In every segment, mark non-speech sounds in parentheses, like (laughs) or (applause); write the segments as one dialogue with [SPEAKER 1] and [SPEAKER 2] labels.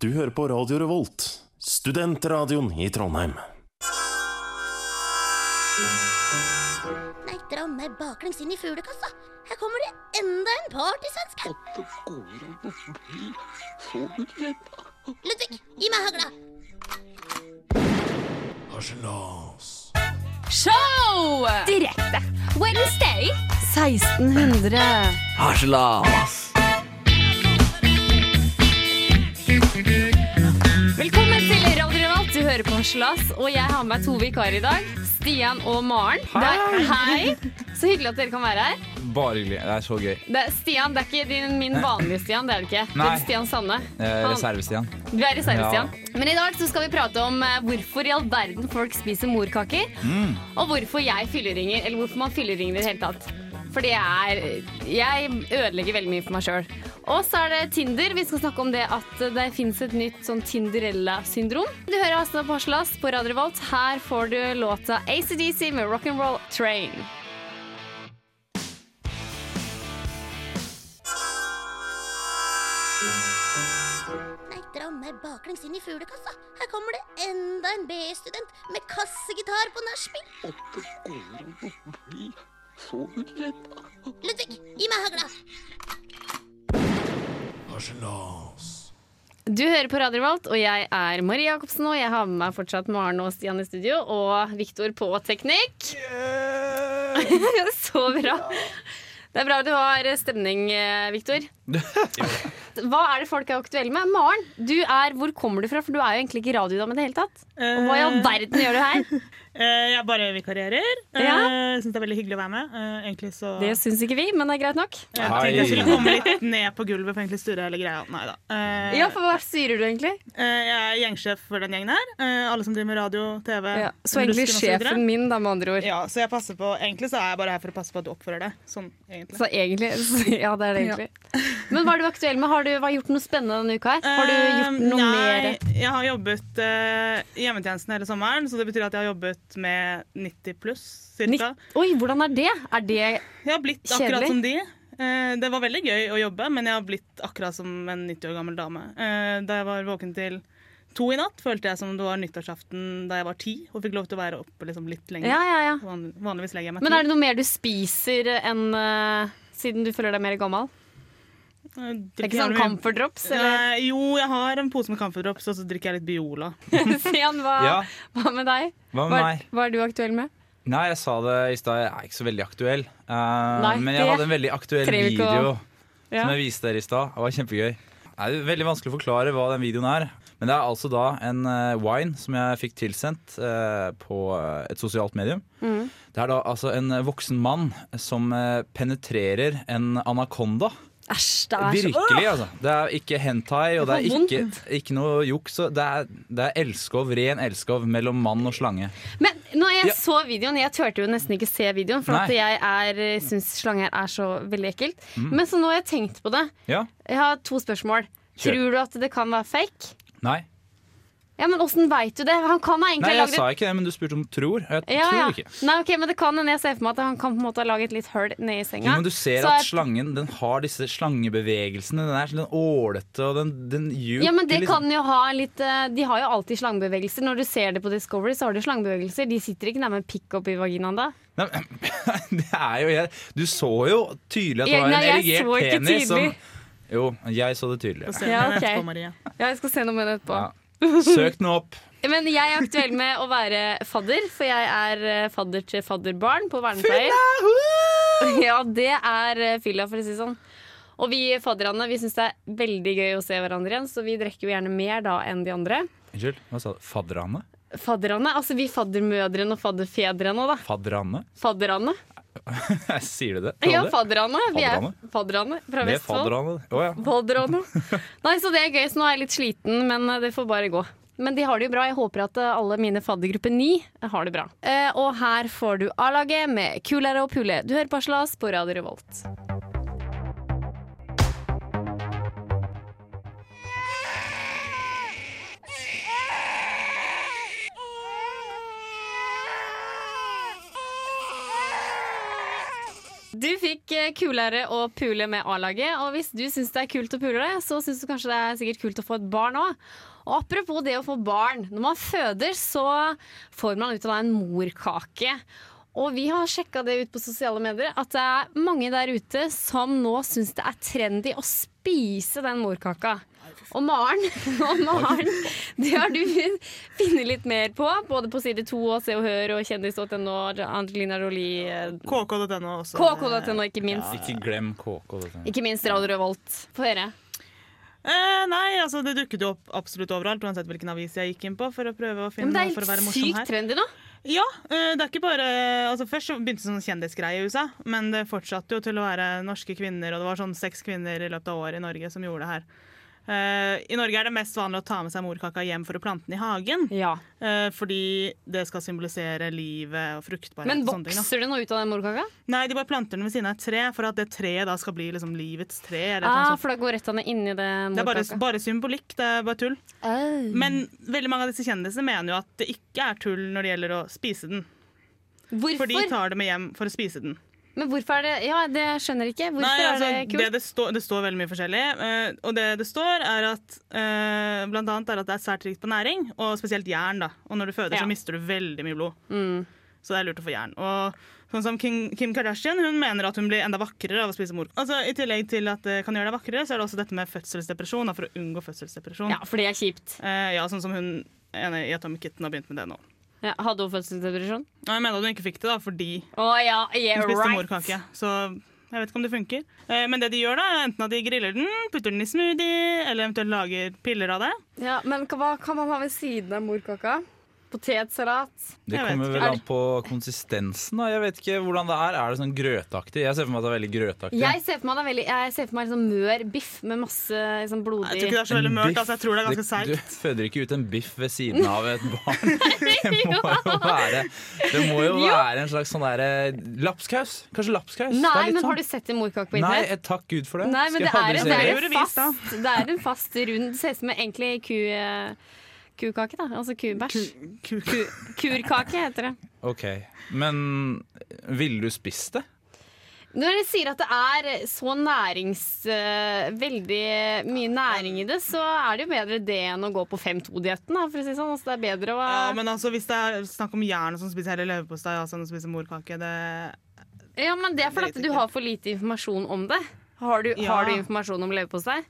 [SPEAKER 1] Du hører på Radio Revolt, studentradioen i Trondheim.
[SPEAKER 2] Nei, dra meg baklengs inn i fuglekassa. Her kommer det enda en partysvenske. Ludvig, gi meg hagla.
[SPEAKER 3] Show! Direkte. Wednesday. 1600. Velkommen til Radio Revolt. Du hører på Harselas, og jeg har med meg to vikarer i dag. Stian og Maren. Det er- Hei. Så hyggelig at dere kan være her.
[SPEAKER 4] Bare hyggelig. Det er så gøy.
[SPEAKER 3] Det er Stian, det er ikke din, min vanlige Stian. Det er det ikke. Det
[SPEAKER 4] Nei.
[SPEAKER 3] er Stian Sanne.
[SPEAKER 4] Eh,
[SPEAKER 3] Han-
[SPEAKER 4] Reserve-Stian.
[SPEAKER 3] Du er reservestian.
[SPEAKER 4] Ja.
[SPEAKER 3] Men i dag så skal vi prate om eh, hvorfor i all verden folk spiser morkaker. Og hvorfor jeg fylleringer, eller hvorfor man fylleringer i det hele tatt. For det er Jeg ødelegger veldig mye for meg sjøl. Og så er det Tinder. Vi skal snakke om det at det fins et nytt sånn Tinderella-syndrom. Du hører Hasna Parselas på Radio Revolt. Her får du låta ACDC med Rock'n'Roll Train.
[SPEAKER 2] Nei, dra meg baklengs inn i fuglekassa. Her kommer det enda en BI-student med kassegitar på nachspiel. Ludvig, gi meg hagla.
[SPEAKER 3] Du hører på Radio Revolt, og jeg er Marie Jacobsen. Og jeg har med meg fortsatt Maren og Stian i studio, og Viktor på teknikk. (laughs) Så bra. Det er bra du har stemning, Viktor. Hva er det folk er aktuelle med? Maren, du er, hvor kommer du fra? For du er jo egentlig ikke radiodame i det hele tatt. Og hva i all verden gjør du
[SPEAKER 5] (laughs)
[SPEAKER 3] her?
[SPEAKER 5] Eh, jeg bare vikarierer. Eh,
[SPEAKER 3] Ja.
[SPEAKER 5] Syns det er veldig hyggelig å være med. Eh, egentlig så
[SPEAKER 3] Det syns ikke vi, men det er greit nok.
[SPEAKER 4] Hei.
[SPEAKER 5] Jeg tenkte jeg skulle komme litt ned på gulvet for egentlig å styre hele greia. Nei da. Eh,
[SPEAKER 3] Ja, for hva styrer du egentlig?
[SPEAKER 5] eh, jeg er gjengsjef for den gjengen her. Eh, alle som driver med radio, TV
[SPEAKER 3] Ja, så egentlig
[SPEAKER 5] Rusken og så videre.
[SPEAKER 3] sjefen min, da, med andre ord.
[SPEAKER 5] Ja, så jeg passer på Egentlig så er jeg bare her for å passe på at du oppfører deg. Sånn, egentlig.
[SPEAKER 3] Så egentlig Ja, det er det egentlig. Men hva er du aktuell med? Har du hva, gjort noe spennende denne uka her? Har du gjort noe
[SPEAKER 5] Eh, Nei,
[SPEAKER 3] mer?
[SPEAKER 5] Jeg har jobbet eh, i hjemmetjenesten hele sommeren, så det betyr at jeg har jobbet med 90 pluss,
[SPEAKER 3] Nitt-
[SPEAKER 5] cirka.
[SPEAKER 3] Oi, hvordan er det? Er det
[SPEAKER 5] Jeg har blitt
[SPEAKER 3] Kjedelig.
[SPEAKER 5] akkurat som de. Eh, Det var veldig gøy å jobbe, men jeg har blitt akkurat som en 90 år gammel dame. Eh, Da jeg var våken til to i natt, følte jeg som det var nyttårsaften da jeg var ti, og fikk lov til å være oppe liksom litt lenger.
[SPEAKER 3] Ja, ja, ja.
[SPEAKER 5] Van- Vanligvis legger jeg meg
[SPEAKER 3] Men er
[SPEAKER 5] ti.
[SPEAKER 3] det noe mer du spiser enn eh, siden du føler deg mer gammel?
[SPEAKER 5] Eh,
[SPEAKER 3] Det er
[SPEAKER 5] drikker
[SPEAKER 3] ikke sånn
[SPEAKER 5] jævlig mye-
[SPEAKER 3] comfort drops? Eller? (laughs)
[SPEAKER 5] Nei, Jo, jeg har en pose med Comfort Drops, og så drikker jeg litt Biola.
[SPEAKER 3] Stian, hva,
[SPEAKER 4] Ja.
[SPEAKER 3] hva med deg?
[SPEAKER 4] Hva med
[SPEAKER 3] Hva,
[SPEAKER 4] meg?
[SPEAKER 3] hva er du aktuell med?
[SPEAKER 4] Nei, jeg sa det i stad, jeg er ikke så veldig aktuell. Eh,
[SPEAKER 3] Nei,
[SPEAKER 4] men
[SPEAKER 3] det
[SPEAKER 4] jeg hadde en veldig aktuell
[SPEAKER 3] trenger vi ikke å-
[SPEAKER 4] video
[SPEAKER 3] Ja.
[SPEAKER 4] som jeg viste dere i stad. Det var kjempegøy. Det er veldig vanskelig å forklare hva den videoen er. Men det er altså da en eh, wine som jeg fikk tilsendt eh, på eh, et sosialt medium.
[SPEAKER 3] Mm.
[SPEAKER 4] Det er da altså en eh, voksen mann som eh, penetrerer en anakonda.
[SPEAKER 3] Æsj, det er så
[SPEAKER 4] Virkelig, altså. Det er ikke hentai, og det
[SPEAKER 3] Det
[SPEAKER 4] er
[SPEAKER 3] var
[SPEAKER 4] ikke, ikke noe juks. og Det er, det er elskov, ren elskov mellom mann og slange.
[SPEAKER 3] Men når jeg
[SPEAKER 4] Ja.
[SPEAKER 3] så videoen Jeg turte jo nesten ikke se videoen, for at
[SPEAKER 4] Nei. Mm.
[SPEAKER 3] jeg er- syns slanger er så veldig ekkelt. Men så nå har jeg tenkt på det.
[SPEAKER 4] Ja?
[SPEAKER 3] Jeg har to spørsmål.
[SPEAKER 4] Kjør.
[SPEAKER 3] Tror du at det kan være fake?
[SPEAKER 4] Nei.
[SPEAKER 3] Ja, men åssen veit du det? Han kan ha
[SPEAKER 4] Nei,
[SPEAKER 3] egentlig ha
[SPEAKER 4] jeg
[SPEAKER 3] laget
[SPEAKER 4] sa ikke det, men du spurte om tror. Jeg
[SPEAKER 3] ja, ja.
[SPEAKER 4] tror ikke.
[SPEAKER 3] Nei, ok, men det kan hende jeg ser for meg at han kan på en måte ha laget litt hull nedi senga.
[SPEAKER 4] Jo, men du ser
[SPEAKER 3] Så
[SPEAKER 4] at
[SPEAKER 3] jeg-
[SPEAKER 4] slangen den har disse slangebevegelsene. Den er sånn ålete og den, den gjuker
[SPEAKER 3] Ja, men det
[SPEAKER 4] liksom.
[SPEAKER 3] kan jo ha litt eh, De har jo alltid slangebevegelser. Når du ser det på Discovery, så har du slangebevegelser. De sitter ikke nærme en pikk opp i vaginaen da.
[SPEAKER 4] Nei, men- (laughs) det er jo jeg, Du så jo tydelig at det
[SPEAKER 3] Jeg-
[SPEAKER 4] var en
[SPEAKER 3] nei, jeg
[SPEAKER 4] erigert
[SPEAKER 3] så ikke
[SPEAKER 4] penis
[SPEAKER 3] tydelig.
[SPEAKER 4] som Jo, jeg så det tydelig.
[SPEAKER 5] Og ser
[SPEAKER 3] Ja,
[SPEAKER 5] den
[SPEAKER 3] ok.
[SPEAKER 5] etterpå, Maria.
[SPEAKER 3] Ja, jeg skal se noe med det etterpå.
[SPEAKER 4] Ja.
[SPEAKER 3] (laughs)
[SPEAKER 4] Søk den opp.
[SPEAKER 3] Men jeg er aktuell med å være fadder, for jeg er eh, fadder til fadderbarn på vernepleier. Ja, det er eh, fylla, for å si det sånn. Og vi fadderne vi syns det er veldig gøy å se hverandre igjen, så vi drikker jo gjerne mer da enn de andre.
[SPEAKER 4] Unnskyld, hva sa du? Fadderane?
[SPEAKER 3] Fadderne, altså vi faddermødrene og fadderfedrene da.
[SPEAKER 4] Fadderane? (laughs)
[SPEAKER 3] Fadderne.
[SPEAKER 4] Sier du det?
[SPEAKER 3] Ja,
[SPEAKER 4] Frode?
[SPEAKER 3] fadderne. Vi er
[SPEAKER 4] Fadderne?
[SPEAKER 3] fadderne fra
[SPEAKER 4] Det er
[SPEAKER 3] Vestfold.
[SPEAKER 4] fadderne. Å ja.
[SPEAKER 3] Fadderne. Nei, så det er gøy, så nå er jeg litt sliten, men eh, det får bare gå. Men de har det jo bra. Jeg håper at eh, alle mine faddergruppe 9 har det bra. Eh, og her får du A-laget med Kulere og Pule. Du hører på Aslas på Radio Revolt. Du fikk eh, kulere å pule med A-laget, og hvis du syns det er kult å pule det, så syns du kanskje det er sikkert kult å få et barn òg. Og apropos det å få barn. Når man føder, så får man ut av deg en morkake. Og vi har sjekka det ut på sosiale medier, at det er mange der ute som nå syns det er trendy å spise den morkaka. Og Maren, (laughs) og Maren, det har du funnet litt mer på, både på side to og Se og Hør og kjendis.no, Angelina Jolie, eh,
[SPEAKER 5] KK.no også.
[SPEAKER 3] KK.no, ikke minst.
[SPEAKER 4] Ikke glem KK. dette.
[SPEAKER 3] Ikke minst Radio Revolt. Få høre.
[SPEAKER 5] Eh, nei, altså det dukket jo opp absolutt overalt, uansett hvilken avis jeg gikk inn på. for å prøve å finne
[SPEAKER 3] Men det
[SPEAKER 5] noe for
[SPEAKER 3] er
[SPEAKER 5] å være
[SPEAKER 3] helt
[SPEAKER 5] morsom
[SPEAKER 3] sykt
[SPEAKER 5] her.
[SPEAKER 3] trendy nå.
[SPEAKER 5] Ja, eh, det er ikke bare altså Først så begynte det sånn kjendisgreie i USA, men det fortsatte jo til å være norske kvinner, og det var sånn seks kvinner i løpet av året i Norge som gjorde det her. Eh, I Norge er det mest vanlig å ta med seg morkaka hjem for å plante den i hagen.
[SPEAKER 3] Ja.
[SPEAKER 5] eh, fordi det skal symbolisere livet og fruktbarhet.
[SPEAKER 3] Men
[SPEAKER 5] og sånne ting, da.
[SPEAKER 3] vokser det noe ut av den morkaka?
[SPEAKER 5] Nei, de bare planter den ved siden av et tre, for at det treet da skal bli liksom livets tre. Eller et eller
[SPEAKER 3] Ah,
[SPEAKER 5] annet sånt.
[SPEAKER 3] for da går rettene inni det
[SPEAKER 5] det er bare,
[SPEAKER 3] morkaka. Mm.
[SPEAKER 5] bare symbolikk, det er bare tull. Men veldig mange av disse kjendisene mener jo at det ikke er tull når det gjelder å spise den. For de
[SPEAKER 3] Hvorfor?
[SPEAKER 5] tar det med hjem for å spise den.
[SPEAKER 3] Men hvorfor er det Ja, det skjønner jeg ikke. Hvorfor
[SPEAKER 5] Nei, altså,
[SPEAKER 3] er det kult?
[SPEAKER 5] Det, det, står, det står veldig mye forskjellig. eh, og det det står, er at eh, blant annet er at det er svært rikt på næring, og spesielt jern. da. Og når du føder,
[SPEAKER 3] Ja. Mm.
[SPEAKER 5] så mister du veldig mye blod. Så det er lurt å få jern. Og sånn som Kim, Kim Kardashian hun mener at hun blir enda vakrere av å spise morkaka. Altså, I tillegg til at det kan gjøre deg vakrere, så er det også dette med fødselsdepresjon. Da, for å unngå fødselsdepresjon.
[SPEAKER 3] Ja, for det er kjipt.
[SPEAKER 5] Eh, ja, sånn som hun ene i Atomic Kitten har begynt med det nå.
[SPEAKER 3] Ja, hadde hun fødselsdepresjon?
[SPEAKER 5] Og jeg mener at hun ikke fikk det da, fordi
[SPEAKER 3] Å ja, yeah,
[SPEAKER 5] Hun spiste
[SPEAKER 3] right.
[SPEAKER 5] morkake, så jeg vet ikke om det funker. Eh, Men det de gjør da, er enten at de griller den, putter den i smoothie, eller eventuelt lager piller av det.
[SPEAKER 3] Ja, men hva kan man ha ved siden av morkaka? Potetsalat?
[SPEAKER 4] Det
[SPEAKER 5] Jeg vet
[SPEAKER 4] kommer
[SPEAKER 5] ikke.
[SPEAKER 4] vel
[SPEAKER 3] Er
[SPEAKER 4] an på konsistensen. da Jeg vet ikke hvordan det er. Er det sånn grøtaktig? Jeg ser for meg at det er veldig grøtaktig.
[SPEAKER 3] Jeg ser for meg, det er veldig, jeg ser for meg liksom mør biff med masse liksom,
[SPEAKER 5] Jeg tror
[SPEAKER 3] blodig
[SPEAKER 5] ikke det er så veldig
[SPEAKER 4] En
[SPEAKER 5] mørt,
[SPEAKER 4] biff,
[SPEAKER 5] altså jeg tror det er ganske
[SPEAKER 4] Du
[SPEAKER 5] seigt.
[SPEAKER 4] føder ikke ut en biff ved siden av
[SPEAKER 3] (laughs)
[SPEAKER 4] et barn. Det må jo være, det må jo være en slags sånn derre lapskaus. Kanskje lapskaus? Det er
[SPEAKER 3] Nei,
[SPEAKER 4] litt
[SPEAKER 3] men
[SPEAKER 4] sånn.
[SPEAKER 3] har du sett en morkake på
[SPEAKER 4] Nei,
[SPEAKER 3] internett?
[SPEAKER 4] eh, takk Gud for det.
[SPEAKER 3] Nei, men det
[SPEAKER 4] Skal
[SPEAKER 3] er,
[SPEAKER 4] jeg aldri
[SPEAKER 3] en,
[SPEAKER 4] se
[SPEAKER 3] det,
[SPEAKER 5] det.
[SPEAKER 3] er en
[SPEAKER 5] Gjorde vis,
[SPEAKER 3] fast,
[SPEAKER 5] da.
[SPEAKER 3] det er en fast rund Det ser ut som en egentlig ku, eh, kukake, da. Altså kubæsj.
[SPEAKER 5] Kuk.
[SPEAKER 3] Ku, kurkake heter det.
[SPEAKER 4] Ok, Men ville du spist det?
[SPEAKER 3] Når de sier at det er eh, så nærings... eh, veldig mye næring i det, så er det jo bedre det enn å gå på 5-2-dietten, da, for å si det sånn. Altså, det er bedre å
[SPEAKER 5] Ja, men altså, hvis det er snakk om jern som spiser hele leverpostei, altså som spiser morkake, det
[SPEAKER 3] Ja, men det er fordi
[SPEAKER 5] Vet
[SPEAKER 3] at du
[SPEAKER 5] ikke.
[SPEAKER 3] har for lite informasjon om det. Har du,
[SPEAKER 5] Ja.
[SPEAKER 3] har du informasjon om leverpostei?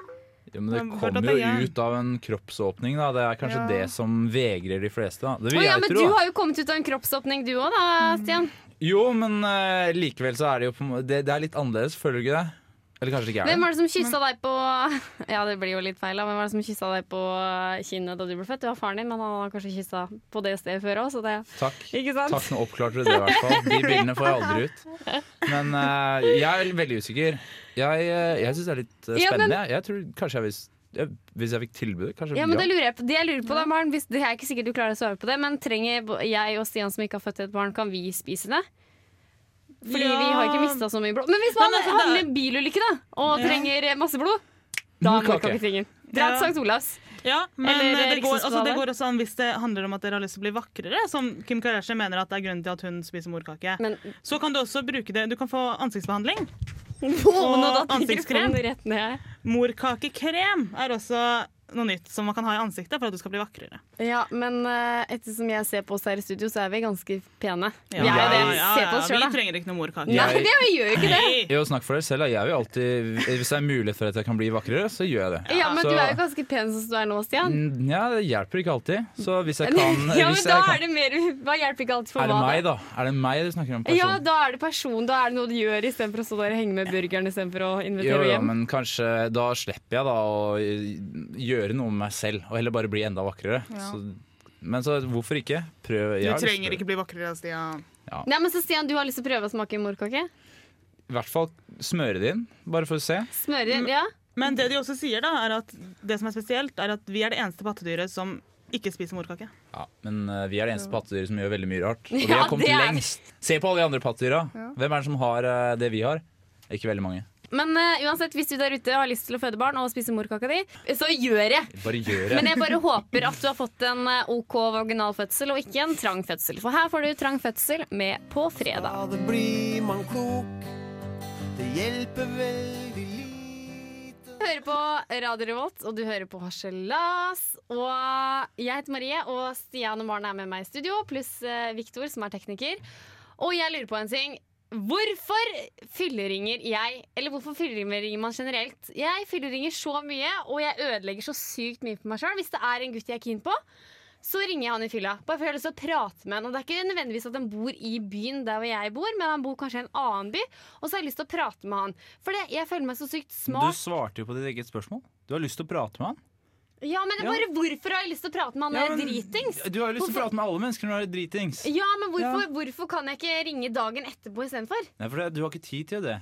[SPEAKER 4] Ja, men
[SPEAKER 5] Men
[SPEAKER 4] det
[SPEAKER 5] klart at
[SPEAKER 4] kommer
[SPEAKER 5] det
[SPEAKER 4] jo
[SPEAKER 5] gjør.
[SPEAKER 4] ut av en kroppsåpning, da. Det er kanskje
[SPEAKER 5] Ja.
[SPEAKER 4] det som vegrer de fleste, da. Det
[SPEAKER 3] Å
[SPEAKER 4] vil
[SPEAKER 3] ja,
[SPEAKER 4] jeg
[SPEAKER 3] men
[SPEAKER 4] tro.
[SPEAKER 3] du
[SPEAKER 4] da.
[SPEAKER 3] har jo kommet ut av en kroppsåpning du òg, da, Stian.
[SPEAKER 4] Jo, men eh, likevel så er det jo på en må- det, det er litt annerledes, føler du ikke det? Eller kanskje det ikke er det?
[SPEAKER 3] Hvem var det som kyssa deg på (laughs) Ja, det blir jo litt feil, da. Hvem var det som kyssa deg på eh, kinnet da du ble født? Det var faren din, men han har kanskje kyssa på det stedet før òg, så det
[SPEAKER 4] Takk.
[SPEAKER 3] Ikke sant?
[SPEAKER 4] Takk, nå oppklarte du det i hvert fall. De bildene får jeg aldri ut. Men eh, jeg er veldig usikker. Jeg, eh, jeg syns det er litt eh,
[SPEAKER 3] Ja, men-
[SPEAKER 4] spennende. Jeg tror kanskje jeg hvis, jeg, hvis jeg fikk tilbudet, kanskje
[SPEAKER 3] Ja, men det
[SPEAKER 4] ja.
[SPEAKER 3] lurer jeg på. Det jeg lurer på da, Maren, hvis, det er ikke sikkert du klarer å svare på det, men trenger bo- jeg og Stian som ikke har født et barn, kan vi spise det? Fordi
[SPEAKER 5] Ja.
[SPEAKER 3] vi har ikke mista så mye blod. Men hvis man
[SPEAKER 5] Men altså, det er-
[SPEAKER 3] havner i en bilulykke, da, og
[SPEAKER 5] Ja.
[SPEAKER 3] trenger eh, masse blod, da er
[SPEAKER 4] Morkake.
[SPEAKER 3] morkaketingen. Dra
[SPEAKER 5] Ja.
[SPEAKER 3] til St. Olavs.
[SPEAKER 5] Ja, men
[SPEAKER 3] Eller
[SPEAKER 5] eh, det går, altså, det
[SPEAKER 3] Rikshospitalet.
[SPEAKER 5] går også an hvis det handler om at dere har lyst til å bli vakrere, som Kim Kardashian mener at det er grunnen til at hun spiser morkake.
[SPEAKER 3] Men
[SPEAKER 5] Så kan du også bruke det Du kan få ansiktsbehandling.
[SPEAKER 3] (laughs) nå datt
[SPEAKER 5] ansiktskrem.
[SPEAKER 3] mikrofonen rett ned.
[SPEAKER 5] Morkakekrem er også noe nytt som man kan ha i ansiktet for at du skal bli vakrere.
[SPEAKER 3] Ja, men eh, ettersom jeg ser på oss her i studio, så er vi ganske pene.
[SPEAKER 5] Ja,
[SPEAKER 3] Vi er jo det.
[SPEAKER 4] ja,
[SPEAKER 3] Se på oss sjøl,
[SPEAKER 5] Vi
[SPEAKER 3] da.
[SPEAKER 5] trenger ikke noe morkake.
[SPEAKER 4] Ja.
[SPEAKER 3] Nei, det vi gjør jo
[SPEAKER 4] (laughs)
[SPEAKER 3] ikke det.
[SPEAKER 5] Nei.
[SPEAKER 4] Jo, snakk for deg selv. da. Jeg vil alltid, hvis det er mulighet for at jeg kan bli vakrere, så gjør jeg det.
[SPEAKER 3] Ja, men
[SPEAKER 4] Så-
[SPEAKER 3] du er jo ganske pen som du er nå, Stian.
[SPEAKER 4] Mm, Ja, det hjelper ikke alltid. Så hvis jeg kan
[SPEAKER 3] (laughs) Ja, men
[SPEAKER 4] hvis
[SPEAKER 3] da
[SPEAKER 4] jeg kan,
[SPEAKER 3] er det mer Hva hjelper ikke alltid for
[SPEAKER 4] er det
[SPEAKER 3] hva?
[SPEAKER 4] meg, da? Er det meg du snakker om? person?
[SPEAKER 3] Ja, da er det person. Da er det noe du gjør istedenfor å stå der og henge med burgeren istedenfor å
[SPEAKER 4] Jo,
[SPEAKER 3] invitere
[SPEAKER 4] jo,
[SPEAKER 3] hjem.
[SPEAKER 4] men kanskje da slipper jeg da å eh, gjøre noe med meg selv, og heller bare bli enda vakrere. Så, men så hvorfor ikke? Prøv.
[SPEAKER 5] Du
[SPEAKER 4] jeg har lyst til
[SPEAKER 5] trenger
[SPEAKER 4] det.
[SPEAKER 5] ikke bli vakrere, Stian.
[SPEAKER 3] Nei, men så Stian, du har lyst til å prøve å smake morkake?
[SPEAKER 4] I hvert fall smøre det inn, bare for å se.
[SPEAKER 3] Smøre
[SPEAKER 4] Mm.
[SPEAKER 3] inn? Ja.
[SPEAKER 5] Men det de også sier, da, er at det som er spesielt, er at vi er det eneste pattedyret som ikke spiser morkake.
[SPEAKER 4] Ja, men eh, vi er det eneste pattedyret som gjør veldig mye rart.
[SPEAKER 3] (laughs)
[SPEAKER 4] Og vi
[SPEAKER 3] Ja,
[SPEAKER 4] har kommet
[SPEAKER 3] det er vi.
[SPEAKER 4] lengst. Se på alle de andre pattedyra. Hvem er det som har eh, det vi har? Ikke veldig mange.
[SPEAKER 3] Men eh, uansett, hvis du der ute har lyst til å føde barn og spise morkaka di, så gjør det!
[SPEAKER 4] Bare gjør
[SPEAKER 3] Men
[SPEAKER 4] det.
[SPEAKER 3] jeg bare håper at du har fått en eh, OK vaginal fødsel, og ikke en trang fødsel. For her får du trang fødsel med På fredag.
[SPEAKER 6] Ja, det blir man klok Det hjelper veldig lite
[SPEAKER 3] Du hører på Radio Revolt, og du hører på Harselas. Og jeg heter Marie, og Stian og Maren er med meg i studio, pluss eh, Viktor, som er tekniker. Og jeg lurer på en ting. Hvorfor fylleringer jeg, eller hvorfor fylleringer man generelt? Jeg fylleringer så mye, og jeg ødelegger så sykt mye for meg sjøl. Hvis det er en gutt jeg er keen på, så ringer jeg han i fylla. Bare for jeg har lyst til å prate med han. Og det er ikke nødvendigvis at han bor i byen der hvor jeg bor, men han bor kanskje i en annen by. Og så har jeg lyst til å prate med han. For det, jeg føler meg så sykt smart.
[SPEAKER 4] Du svarte jo på ditt eget spørsmål. Du har lyst til å prate med han.
[SPEAKER 3] Ja, men det er
[SPEAKER 4] Ja.
[SPEAKER 3] bare hvorfor har jeg lyst til å prate med han
[SPEAKER 4] Ja,
[SPEAKER 3] der
[SPEAKER 4] men
[SPEAKER 3] dritings?
[SPEAKER 4] Du har jo lyst til å
[SPEAKER 3] Hvorfor-
[SPEAKER 4] prate med alle mennesker når du er dritings.
[SPEAKER 3] Ja, men hvorfor,
[SPEAKER 4] Ja.
[SPEAKER 3] hvorfor kan jeg ikke ringe dagen etterpå istedenfor?
[SPEAKER 4] Nei, for det, du har ikke tid til det.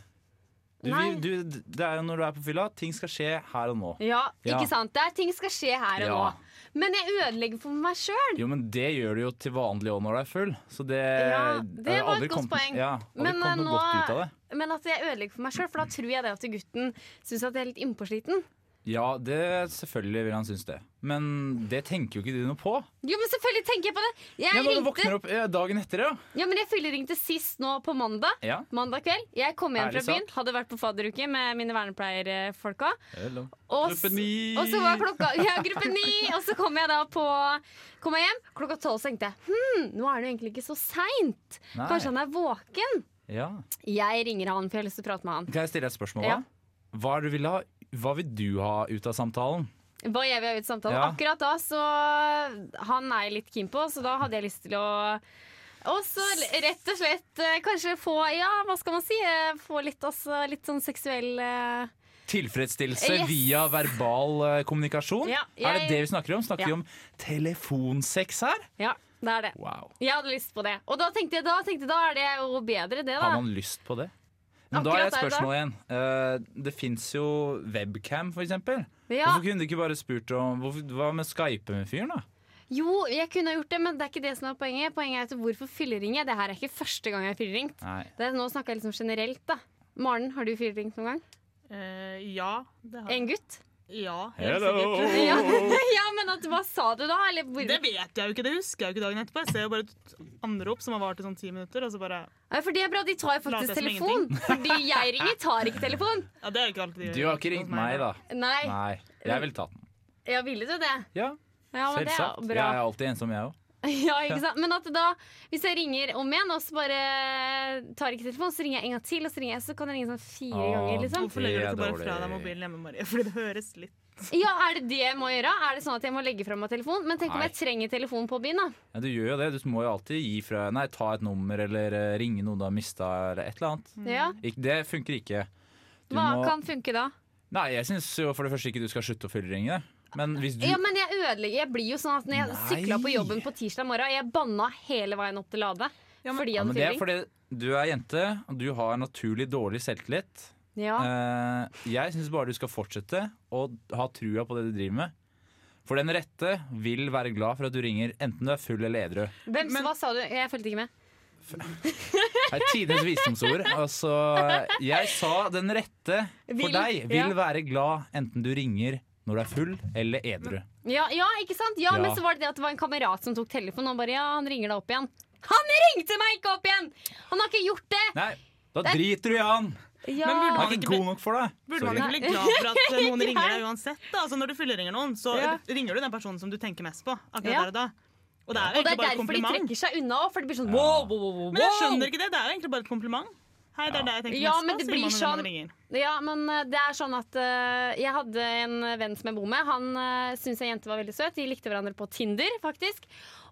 [SPEAKER 4] Du,
[SPEAKER 3] Nei.
[SPEAKER 4] vi, du, det er jo når du er på fylla, ting skal skje her og nå.
[SPEAKER 3] Ja,
[SPEAKER 4] Ja.
[SPEAKER 3] ikke sant? Det er ting skal skje her og
[SPEAKER 4] Ja.
[SPEAKER 3] nå. Men jeg ødelegger for meg sjøl.
[SPEAKER 4] Jo, men det gjør du jo til vanlig òg når du er full, så det
[SPEAKER 3] Ja, det
[SPEAKER 4] jeg har
[SPEAKER 3] var et
[SPEAKER 4] aldri
[SPEAKER 3] godt
[SPEAKER 4] kommet-
[SPEAKER 3] poeng.
[SPEAKER 4] Ja, aldri
[SPEAKER 3] Men, eh,
[SPEAKER 4] kommet noe
[SPEAKER 3] nå-
[SPEAKER 4] godt ut av det.
[SPEAKER 3] Men at jeg ødelegger for meg sjøl, for da tror jeg det at gutten syns at jeg er litt innpåsliten.
[SPEAKER 4] Ja, det, selvfølgelig vil han synes det. Men det tenker jo ikke du noe på.
[SPEAKER 3] Jo, men selvfølgelig tenker jeg på det! Jeg
[SPEAKER 4] Ja, når du
[SPEAKER 3] ringte,
[SPEAKER 4] våkner opp eh, dagen etter, ja.
[SPEAKER 3] ja, men jeg fylleringte sist nå på mandag.
[SPEAKER 4] ja.
[SPEAKER 3] Mandag kveld. Jeg kom hjem fra
[SPEAKER 4] Ærlig
[SPEAKER 3] byen,
[SPEAKER 4] sak.
[SPEAKER 3] hadde vært på fadderuke med mine vernepleierfolka.
[SPEAKER 4] Hello.
[SPEAKER 3] Og,
[SPEAKER 4] Gruppe ni.
[SPEAKER 3] s- og så var klokka Ja, gruppe ni! Og så kom jeg da på Kom jeg hjem, klokka tolv så tenkte jeg Hm, nå er det jo egentlig ikke så seint.
[SPEAKER 4] Nei.
[SPEAKER 3] Kanskje han er våken?
[SPEAKER 4] Ja.
[SPEAKER 3] Jeg ringer han, for jeg har lyst til å prate med han.
[SPEAKER 4] Kan jeg stille deg et spørsmål,
[SPEAKER 3] Ja.
[SPEAKER 4] da? Hva, er det du vil ha, hva vil du ha ut av samtalen?
[SPEAKER 3] Hva jeg vil ha ut samtale.
[SPEAKER 4] Ja.
[SPEAKER 3] Akkurat da så Han er jeg litt keen på, så da hadde jeg lyst til å og så l- rett og slett eh, kanskje få Ja, hva skal man si? eh, Få litt, altså, litt sånn seksuell eh,
[SPEAKER 4] Tilfredsstillelse
[SPEAKER 3] Yes.
[SPEAKER 4] via verbal eh, kommunikasjon?
[SPEAKER 3] Ja,
[SPEAKER 4] Er det
[SPEAKER 3] jeg-
[SPEAKER 4] det vi snakker om? Snakker
[SPEAKER 3] Ja.
[SPEAKER 4] vi om telefonsex her?
[SPEAKER 3] Ja, det er det.
[SPEAKER 4] Wow.
[SPEAKER 3] Jeg hadde lyst på det. Og da tenkte jeg da, tenkte, jeg, da er det jo bedre, det, da.
[SPEAKER 4] Har man lyst på det? Men da har jeg et
[SPEAKER 3] Akkurat der, da.
[SPEAKER 4] spørsmål igjen. Eh, det fins jo webcam, for eksempel.
[SPEAKER 3] Ja.
[SPEAKER 4] Hvorfor kunne du ikke bare spurt om hvorfor, Hva med Skype med fyren, da?
[SPEAKER 3] Jo, jeg kunne ha gjort det, men det er ikke det som er poenget. Poenget er at hvorfor fylleringe? Det her er ikke første gang jeg har fylleringt.
[SPEAKER 4] Nei.
[SPEAKER 3] Det er, nå snakker jeg liksom generelt, da. Maren, har du fylleringt noen gang?
[SPEAKER 5] Eh, ja, det har jeg.
[SPEAKER 3] En gutt?
[SPEAKER 5] Ja, helt
[SPEAKER 4] Hello.
[SPEAKER 5] sikkert. (laughs)
[SPEAKER 3] Ja, (laughs) ja men at, hva sa du da? Eller hvor...
[SPEAKER 5] Det vet jeg jo ikke, det husker jeg jo ikke dagen etterpå. Jeg ser jo bare et anrop som har vart i sånn ti minutter, og så bare
[SPEAKER 3] Nei, for det er bra, de tar jo
[SPEAKER 5] Lat
[SPEAKER 3] faktisk
[SPEAKER 5] det som
[SPEAKER 3] telefon. (laughs) Fordi jeg ringer, tar ikke telefon.
[SPEAKER 5] Ja, det er jo ikke alltid de
[SPEAKER 4] Du har ikke ringt meg, da.
[SPEAKER 3] Nei,
[SPEAKER 4] Nei. Jeg ville tatt den.
[SPEAKER 3] ja, ville du det?
[SPEAKER 4] Ja,
[SPEAKER 3] Ja, men det
[SPEAKER 4] selvsagt.
[SPEAKER 3] er
[SPEAKER 4] Jeg
[SPEAKER 3] bra.
[SPEAKER 4] er alltid ensom, jeg òg.
[SPEAKER 3] (laughs) Ja, ikke sant? Men at da, hvis jeg ringer om igjen, og så bare tar ikke telefonen, så ringer jeg en gang til, og så ringer jeg, så kan jeg ringe sånn fire
[SPEAKER 4] Åh.
[SPEAKER 3] ganger, liksom.
[SPEAKER 5] Hvorfor legger du
[SPEAKER 4] Det er
[SPEAKER 5] ikke bare
[SPEAKER 4] dårlig.
[SPEAKER 5] fra deg mobilen hjemme, Marie? (laughs) Fordi det høres litt
[SPEAKER 3] Ja, er det det jeg må gjøre? Er det sånn at jeg må legge fra meg telefon? Men tenk om
[SPEAKER 4] Nei.
[SPEAKER 3] jeg trenger telefon på byen, da.
[SPEAKER 4] Ja, du gjør jo det. Du må jo alltid gi fra Nei, ta et nummer eller eh, ringe noen du har mista, eller et eller
[SPEAKER 5] Mm.
[SPEAKER 4] annet.
[SPEAKER 3] Ja.
[SPEAKER 4] Ikke, det funker ikke. Du
[SPEAKER 3] Hva
[SPEAKER 4] må-
[SPEAKER 3] kan funke da?
[SPEAKER 4] Nei, jeg syns jo for det første ikke du skal slutte å fylleringe. Men hvis du
[SPEAKER 3] Ja, men jeg ødelegger. Jeg blir jo sånn at når jeg
[SPEAKER 4] Nei.
[SPEAKER 3] sykla på jobben på tirsdag morgen, jeg banna hele veien opp til Lade.
[SPEAKER 5] Ja, men-
[SPEAKER 3] fordi jeg
[SPEAKER 4] ja,
[SPEAKER 3] hadde
[SPEAKER 4] men Det er
[SPEAKER 3] fylling.
[SPEAKER 4] fordi du er jente, og du har naturlig dårlig selvtillit.
[SPEAKER 3] Ja.
[SPEAKER 4] Eh, jeg syns bare du skal fortsette å ha trua på det du driver med. For den rette vil være glad for at du ringer enten du er full eller edru.
[SPEAKER 3] Hvem, hva sa du? Jeg fulgte ikke med.
[SPEAKER 4] Det er tidenes visdomsord. Altså, jeg sa den rette for
[SPEAKER 3] Vil,
[SPEAKER 4] deg vil
[SPEAKER 3] ja.
[SPEAKER 4] være glad enten du ringer når du er full eller edru.
[SPEAKER 3] Ja, ja, ikke sant? Ja,
[SPEAKER 4] Ja.
[SPEAKER 3] men så var det det at det var en kamerat som tok telefonen, og bare ja, han ringer deg opp igjen. Han ringte meg ikke opp igjen! Han har ikke gjort det!
[SPEAKER 4] Nei, da driter du i han!
[SPEAKER 3] Ja.
[SPEAKER 5] Men burde
[SPEAKER 4] Han er ikke god nok for deg.
[SPEAKER 5] Burde man
[SPEAKER 4] Sorry.
[SPEAKER 5] ikke bli glad for at
[SPEAKER 3] (laughs)
[SPEAKER 5] noen ringer deg uansett? da? Altså Når du fylleringer noen, så
[SPEAKER 3] Ja.
[SPEAKER 5] ringer du den personen som du tenker mest på. akkurat
[SPEAKER 3] Ja.
[SPEAKER 5] der Og da Og det er jo
[SPEAKER 3] Og det
[SPEAKER 5] egentlig
[SPEAKER 3] er
[SPEAKER 5] bare et
[SPEAKER 3] derfor de
[SPEAKER 5] kompliment.
[SPEAKER 3] trekker seg unna òg, for det blir sånn wow, wow, wow, wow.
[SPEAKER 5] Men jeg skjønner ikke det. Det er jo egentlig bare et kompliment. Hei, det er det jeg tenker
[SPEAKER 3] Ja,
[SPEAKER 5] mest
[SPEAKER 3] men
[SPEAKER 5] på,
[SPEAKER 3] det
[SPEAKER 5] sier
[SPEAKER 3] blir
[SPEAKER 5] man når man
[SPEAKER 3] sånn-
[SPEAKER 5] ringer.
[SPEAKER 3] Ja, men eh, det er sånn at eh, Jeg hadde en venn som jeg bor med. Han uh, syntes ei jente var veldig søt. De likte hverandre på Tinder, faktisk.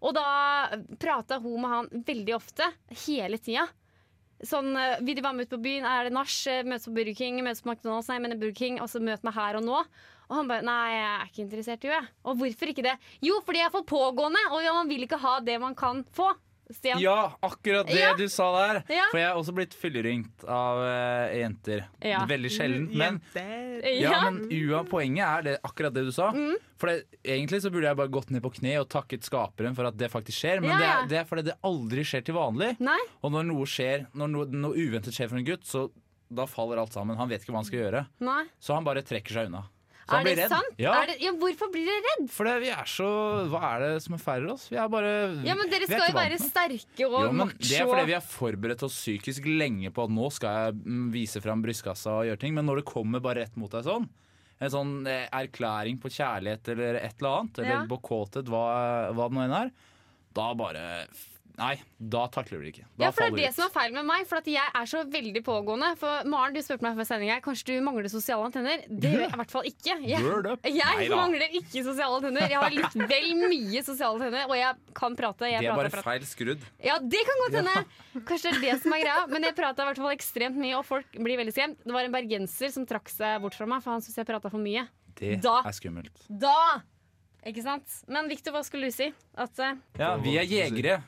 [SPEAKER 3] Og da prata hun med han veldig ofte. Hele tida. Sånn, eh, Vil de være med ut på byen? Er det nach? Eh, Møtes på Burger King? Møtes på McDonald's? Nei, jeg mener Burger King. Og så møt meg her og nå. Og han bare Nei, jeg er ikke interessert i henne. Og hvorfor ikke det? Jo, fordi jeg er for pågående, og ja, man vil ikke ha det man kan få. Stian.
[SPEAKER 4] Ja, akkurat det
[SPEAKER 3] Ja.
[SPEAKER 4] du sa der.
[SPEAKER 3] Ja.
[SPEAKER 4] For jeg er også blitt fylleringt av eh, jenter.
[SPEAKER 3] Ja. Mm,
[SPEAKER 4] Veldig sjelden. Men,
[SPEAKER 5] Jenter.
[SPEAKER 3] Ja. Mm.
[SPEAKER 4] ja, men ua, poenget er det, akkurat det du sa. For det, egentlig så burde jeg bare gått ned på kne og takket skaperen for at det faktisk skjer,
[SPEAKER 3] Ja,
[SPEAKER 4] men det,
[SPEAKER 3] ja.
[SPEAKER 4] er, det er fordi det aldri skjer til vanlig.
[SPEAKER 3] Nei?
[SPEAKER 4] Og når noe skjer, når noe, noe uventet skjer for en gutt, så da faller alt sammen. Han vet ikke hva han skal gjøre.
[SPEAKER 3] Nei.
[SPEAKER 4] Så han bare trekker seg unna. han
[SPEAKER 3] Er
[SPEAKER 4] blir
[SPEAKER 3] det
[SPEAKER 4] redd.
[SPEAKER 3] sant?
[SPEAKER 4] Ja.
[SPEAKER 3] Er det, ja, hvorfor blir dere redd?
[SPEAKER 4] For det, vi er så Hva er det som feirer oss? Vi er bare
[SPEAKER 3] Ja, men Dere
[SPEAKER 4] Mm. vi er
[SPEAKER 3] skal jo
[SPEAKER 4] ikke vant
[SPEAKER 3] være
[SPEAKER 4] med det.
[SPEAKER 3] sterke og
[SPEAKER 4] jo, men Det er
[SPEAKER 3] macho.
[SPEAKER 4] fordi vi har forberedt oss psykisk lenge på at nå skal jeg mm, vise fram brystkassa og gjøre ting, men når det kommer bare rett mot deg sånn, en sånn eh, erklæring på kjærlighet eller et eller annet, eller
[SPEAKER 3] Ja.
[SPEAKER 4] på kåthet, hva, hva det nå enn er, da bare Nei, da takler du det ikke.
[SPEAKER 3] Ja,
[SPEAKER 4] Da
[SPEAKER 3] for det er
[SPEAKER 4] faller du
[SPEAKER 3] det
[SPEAKER 4] ut.
[SPEAKER 3] som er feil med meg, for at jeg er så veldig pågående. For Maren, du spurte meg før sending her, kanskje du mangler sosiale antenner? Det gjør jeg i hvert fall ikke.
[SPEAKER 4] Word
[SPEAKER 3] (laughs)
[SPEAKER 4] up.
[SPEAKER 3] Jeg,
[SPEAKER 4] Neida.
[SPEAKER 3] jeg mangler ikke sosiale antenner. Jeg har litt vel mye sosiale antenner, og jeg kan prate. Jeg
[SPEAKER 4] Det er
[SPEAKER 3] prater,
[SPEAKER 4] bare
[SPEAKER 3] prater.
[SPEAKER 4] feil skrudd.
[SPEAKER 3] Ja, det kan godt hende. Kanskje det er det som er greia. Men jeg prata i hvert fall ekstremt mye, og folk blir veldig skremt. Det var en bergenser som trakk seg bort fra meg, for han syntes jeg prata for mye.
[SPEAKER 4] Det
[SPEAKER 3] Da-
[SPEAKER 4] er skummelt.
[SPEAKER 3] Da! Ikke sant? Men Victor, hva skulle du si? At eh,
[SPEAKER 4] Ja, vi er jegere.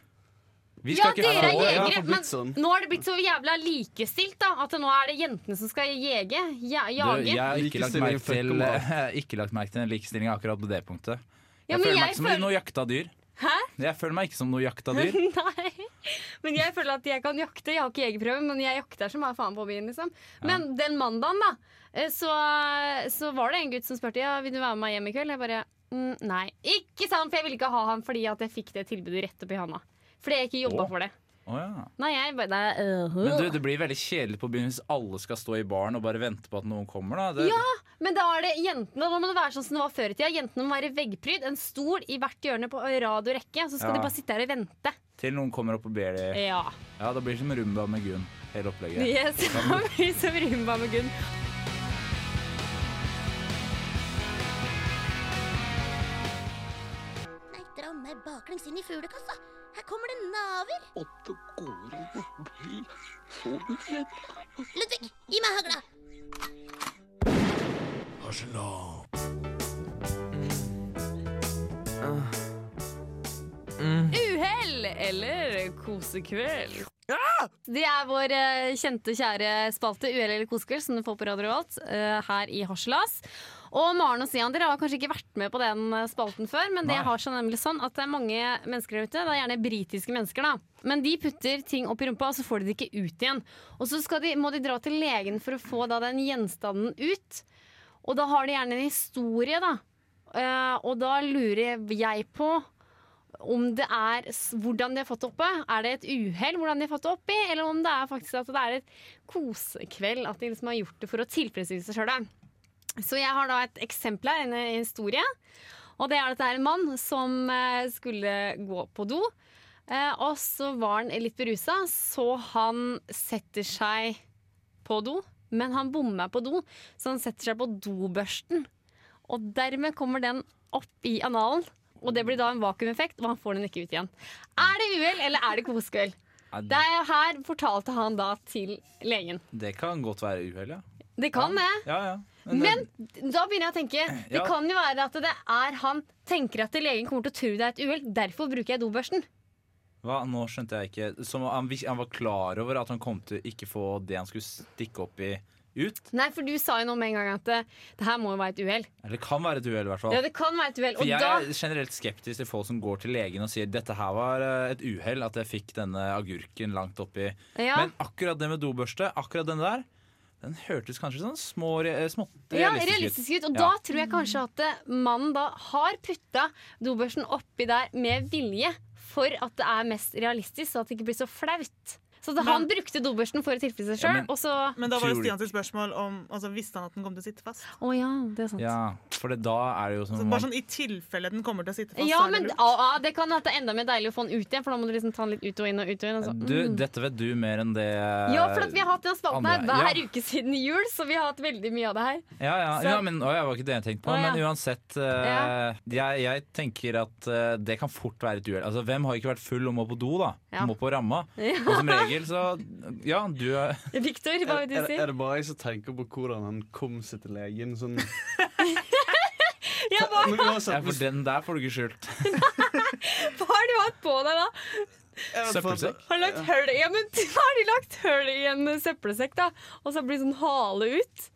[SPEAKER 4] Vi
[SPEAKER 3] Ja,
[SPEAKER 4] skal ikke
[SPEAKER 3] dere er
[SPEAKER 4] få- Ja,
[SPEAKER 3] jegere,
[SPEAKER 4] for-
[SPEAKER 3] men
[SPEAKER 6] sånn.
[SPEAKER 3] nå har det blitt så jævla likestilt, da. At nå er det jentene som skal jege. Ja,
[SPEAKER 4] Du,
[SPEAKER 3] jage.
[SPEAKER 4] jeg har ikke lagt, merke
[SPEAKER 6] Likestilling, fuck
[SPEAKER 4] til, (laughs)
[SPEAKER 6] them all.
[SPEAKER 4] jeg har ikke lagt merke til den likestillinga akkurat på det punktet. Jeg
[SPEAKER 3] Ja, men
[SPEAKER 4] føler meg
[SPEAKER 3] jeg
[SPEAKER 4] ikke som
[SPEAKER 3] føler- (laughs)
[SPEAKER 4] noe jakta dyr.
[SPEAKER 3] Hæ?
[SPEAKER 4] Jeg føler meg ikke som noe jakta
[SPEAKER 3] (laughs)
[SPEAKER 4] dyr.
[SPEAKER 3] Nei. Men jeg føler at jeg kan jakte. Jeg har ikke jegerprøve, men jeg jakter som bare faen på byen, liksom. Men den mandagen, da, eh, så, så var det en gutt som spurte Ja, vil du være med meg hjem i kveld. Jeg bare mm, nei. Ikke sant, for jeg ville ikke ha han fordi at jeg fikk det tilbudet rett opp i handa. Fordi jeg ikke jobba
[SPEAKER 4] Å.
[SPEAKER 3] for det.
[SPEAKER 4] Å, ja.
[SPEAKER 3] Nei, jeg bare nei, øh.
[SPEAKER 4] Men du, det blir veldig kjedelig på byen hvis alle skal stå i baren og bare vente på at noen kommer. Da. Det,
[SPEAKER 3] Ja, men da er det jentene Da må det være sånn som det var før i tida. Jentene må være veggpryd. En stol i hvert hjørne på rad og rekke. Så skal
[SPEAKER 4] Ja.
[SPEAKER 3] de bare sitte her og vente.
[SPEAKER 4] Til noen kommer opp og ber de.
[SPEAKER 3] Ja.
[SPEAKER 4] Ja, det blir som Rumba med Gunn. Hele opplegget.
[SPEAKER 3] Yes, (laughs) det blir som Rumba med Gunn.
[SPEAKER 2] Nei, dra meg baklengs inn i fuglekassa. Her kommer det naver. Ludvig, gi meg hagla.
[SPEAKER 3] Uhell eller kosekveld. Det er vår eh, kjente, kjære spalte Uhell eller kosekveld som du får på Radio Revolt eh, her i Harselas. Og Maren og Sian, dere har kanskje ikke vært med på den eh, spalten før, men det
[SPEAKER 4] Nei.
[SPEAKER 3] har så nemlig sånn at det er mange mennesker der ute, det er gjerne britiske mennesker, da. Men de putter ting opp i rumpa, og så får de det ikke ut igjen. Og så skal de, må de dra til legen for å få da, den gjenstanden ut. Og da har de gjerne en historie, da. Eh, og da lurer jeg på om det er s- hvordan de har fått det oppe. Er det et uhell hvordan de har fått det oppi, eller om det er faktisk at det er et kosekveld, at de liksom har gjort det for å tilfredsstille seg sjøl. Så jeg har da et eksempel her, en eh, historie. Og det er at det er en mann som eh, skulle gå på do. eh, Og så var han litt berusa, så han setter seg på do. Men han bommer på do, så han setter seg på dobørsten. Og dermed kommer den opp i analen. Og det blir da en vakuumeffekt, og han får den ikke ut igjen. Er det uhell, eller er det kosekveld?
[SPEAKER 4] Nei,
[SPEAKER 3] Det er her fortalte han da til legen.
[SPEAKER 4] det kan godt være uhell, ja.
[SPEAKER 3] Det kan det.
[SPEAKER 4] ja, ja.
[SPEAKER 3] Men da begynner jeg å tenke Det
[SPEAKER 4] Ja.
[SPEAKER 3] kan jo være at det er han tenker at legen kommer til å tro det er et uhell. Derfor bruker jeg dobørsten.
[SPEAKER 4] Hva? Nå skjønte jeg ikke. Som han, vis- han var klar over at han kom til ikke få det han skulle stikke opp i, ut?
[SPEAKER 3] Nei, for du sa jo nå med en gang at det, det her må jo være et uhell.
[SPEAKER 4] Eller kan være et uhell, i hvert fall.
[SPEAKER 3] Ja, det kan være et uhell.
[SPEAKER 4] For
[SPEAKER 3] Og
[SPEAKER 4] jeg
[SPEAKER 3] da
[SPEAKER 4] er generelt skeptisk til folk som går til legen og sier dette her var eh, et uhell at jeg fikk denne agurken langt oppi.
[SPEAKER 3] Ja.
[SPEAKER 4] Men akkurat det med dobørste, akkurat den der, den hørtes kanskje sånn små, eh, smått
[SPEAKER 3] Ja,
[SPEAKER 4] realistisk,
[SPEAKER 3] realistisk ut. Og
[SPEAKER 4] Ja.
[SPEAKER 3] da tror jeg kanskje at eh, mannen da har putta dobørsten oppi der med vilje for at det er mest realistisk, så at det ikke blir så flaut. Så at han brukte dobørsten for å tilfredsstille seg
[SPEAKER 4] Ja,
[SPEAKER 3] sjøl,
[SPEAKER 4] men-
[SPEAKER 3] og så
[SPEAKER 5] Men da var
[SPEAKER 4] Tror
[SPEAKER 5] det
[SPEAKER 4] du-
[SPEAKER 5] Stians spørsmål om altså, Visste han at den kom til å sitte fast?
[SPEAKER 3] Å ja, det er sant. Ja.
[SPEAKER 4] Ja, for det, da er Altså, det jo
[SPEAKER 5] Så
[SPEAKER 4] som
[SPEAKER 5] bare sånn I tilfelle den kommer til å sitte fast. så er det
[SPEAKER 3] men
[SPEAKER 5] lurt.
[SPEAKER 3] ah, ah, Det kan hende at det er enda mer deilig å få den ut igjen, for da må du liksom ta den litt ut og inn. og ut og inn og så.
[SPEAKER 4] Du, dette vet du mer enn det
[SPEAKER 3] Ja, mm. for at vi har hatt den spalten her
[SPEAKER 4] Andre-
[SPEAKER 3] hver
[SPEAKER 4] ja.
[SPEAKER 3] uke siden jul, så vi har hatt veldig mye av det her.
[SPEAKER 4] Ja, ja.
[SPEAKER 3] Så-
[SPEAKER 4] ja men å, jeg var ikke det jeg tenkte på.
[SPEAKER 3] Å, ja.
[SPEAKER 4] Men uansett, eh, jeg, jeg tenker at eh, det kan fort være et uhell. Altså, hvem har ikke vært full og må på do, da?
[SPEAKER 3] (laughs) Ja.
[SPEAKER 4] Må på ramma. Og som regel, så Ja, du eh,
[SPEAKER 3] (laughs)
[SPEAKER 4] er
[SPEAKER 3] Victor, hva vil
[SPEAKER 6] Er,
[SPEAKER 3] du si?
[SPEAKER 6] er det bare jeg som tenker på hvordan han kom seg til legen? Sånn.
[SPEAKER 3] Ja, hva,
[SPEAKER 6] (laughs) Men uansett,
[SPEAKER 4] Ja, for den der får du ikke skjult.
[SPEAKER 3] hva har du hatt på deg da?
[SPEAKER 6] jeg vet faen-
[SPEAKER 4] Søppelsekk.
[SPEAKER 3] Har lagt høl, ja, men (laughs) har de lagt høl i en eh, søppelsekk, da? Og så blir det sånn hale ut?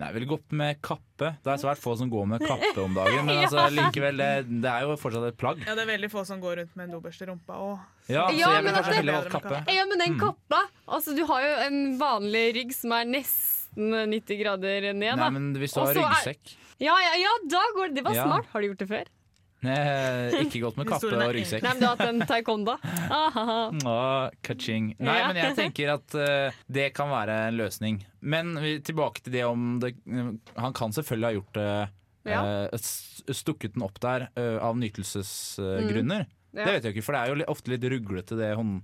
[SPEAKER 4] Nei, jeg ville gått med kappe. Det er svært få som går med kappe om dagen,
[SPEAKER 3] (laughs)
[SPEAKER 4] men altså, likevel, det, det er jo fortsatt et plagg.
[SPEAKER 5] Ja, Det er veldig få som går rundt med en dobørste i rumpa. Og
[SPEAKER 4] Ja, så
[SPEAKER 3] Ja,
[SPEAKER 4] jeg
[SPEAKER 3] men
[SPEAKER 4] ville
[SPEAKER 3] at
[SPEAKER 4] kanskje
[SPEAKER 3] det-
[SPEAKER 4] Mm. heller valgt kappe.
[SPEAKER 3] Ja, men den kappa Altså, du har jo en vanlig rygg som er nesten nesten 90 grader ned.
[SPEAKER 4] Nei,
[SPEAKER 3] Da.
[SPEAKER 4] men hvis du har
[SPEAKER 3] Og så er-
[SPEAKER 4] ryggsekk
[SPEAKER 3] Ja, ja, ja, da går det! Det var
[SPEAKER 4] Ja.
[SPEAKER 3] smart. Har du gjort det før?
[SPEAKER 4] Nei, Ikke godt med kappe
[SPEAKER 5] Historien er
[SPEAKER 4] og ryggsekk.
[SPEAKER 3] Nei, men du har hatt en
[SPEAKER 4] (laughs)
[SPEAKER 3] taekwondo. Ah, Ahaha.
[SPEAKER 4] Åh, ka-ching. Nei,
[SPEAKER 3] Ja.
[SPEAKER 4] men jeg tenker at eh, det kan være en løsning. Men vi, tilbake til det om det Han kan selvfølgelig ha gjort det
[SPEAKER 3] Ja.
[SPEAKER 4] eh, s- Stukket den opp der eh, av nytelsesgrunner.
[SPEAKER 3] Mm. Ja.
[SPEAKER 4] Det vet jeg ikke, for det er jo li- ofte litt ruglete, det, hånd-